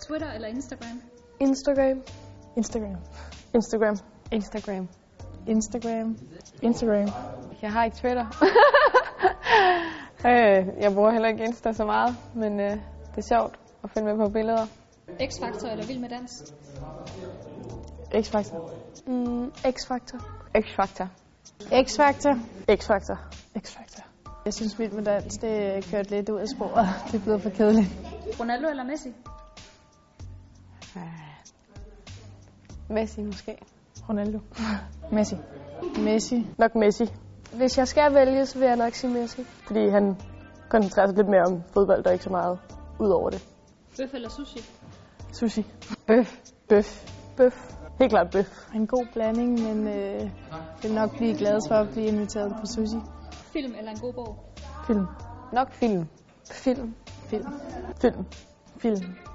Twitter eller Instagram? Instagram. Instagram. Instagram. Instagram. Instagram. Instagram. Jeg har ikke Twitter. øh, jeg bruger heller ikke Insta så meget, men øh, det er sjovt at følge med på billeder. X-Factor eller Vild med Dans? X-Factor. Mm, X-Factor. X-Factor. X-Factor. X-Factor. X-Factor. Jeg synes, Vild med Dans, det er kørt lidt ud af sporet. Det er blevet for kedeligt. Ronaldo eller Messi? Øh. Messi måske. Ronaldo. Messi. Messi. Nok Messi, Hvis jeg skal vælge, så vil jeg nok sige Messi. fordi han koncentrerer sig lidt mere om fodbold og ikke så meget ud over det. Bøf eller sushi? Sushi. Bøf. Bøf. Bøf. Helt klart bøf. En god blanding, men øh, vil nok blive glad for at blive inviteret på sushi. Film eller en god bog? Film. Nok film. Film. Film. Film. Film.